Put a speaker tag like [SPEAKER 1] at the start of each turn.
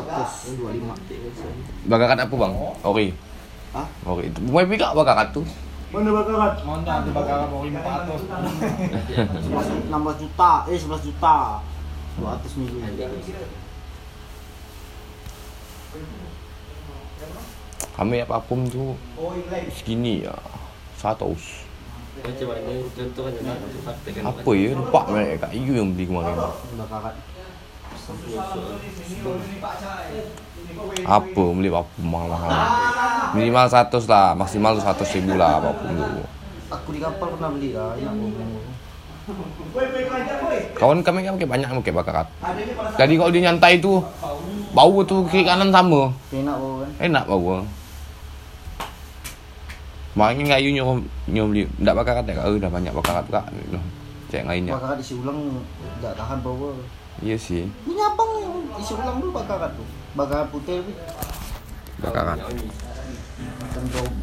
[SPEAKER 1] 100 25
[SPEAKER 2] Bagakan apa bang? Ori.
[SPEAKER 1] Hah?
[SPEAKER 2] Ori. Mau pika bagakan tuh?
[SPEAKER 3] Mana bakaran?
[SPEAKER 4] Mana ada bakal mau 400.
[SPEAKER 1] 11 16 juta eh 11 juta 200 miliar
[SPEAKER 2] Kami apa pun tuh segini ya. Satu us. Apa ya? Lupa mereka Kak Iyu yang beli kemarin.
[SPEAKER 1] udah kakak
[SPEAKER 2] Apa beli apa mahal-mahal. Minimal 100 lah, maksimal 100 ribu lah apapun tuh.
[SPEAKER 1] aku di kapal pernah beli lah enak ngomong.
[SPEAKER 2] Kawan kami kan pakai banyak yang pakai bakarat. Jadi kalau dia nyantai tuh bau tuh kiri kanan sama.
[SPEAKER 1] enak bau kan
[SPEAKER 2] Enak bau. Makanya Kak Iyu nyuruh nyuruh beli enggak bakarat ya Kak. Eh, Udah banyak bakarat Kak. Cek yang lainnya.
[SPEAKER 1] kakak isi ulang nggak tahan bau
[SPEAKER 2] Iya sih,
[SPEAKER 1] punya abang yang isi ulang dulu bakaran tuh bakaran putih tapi
[SPEAKER 2] bakaran.
[SPEAKER 1] bukan bau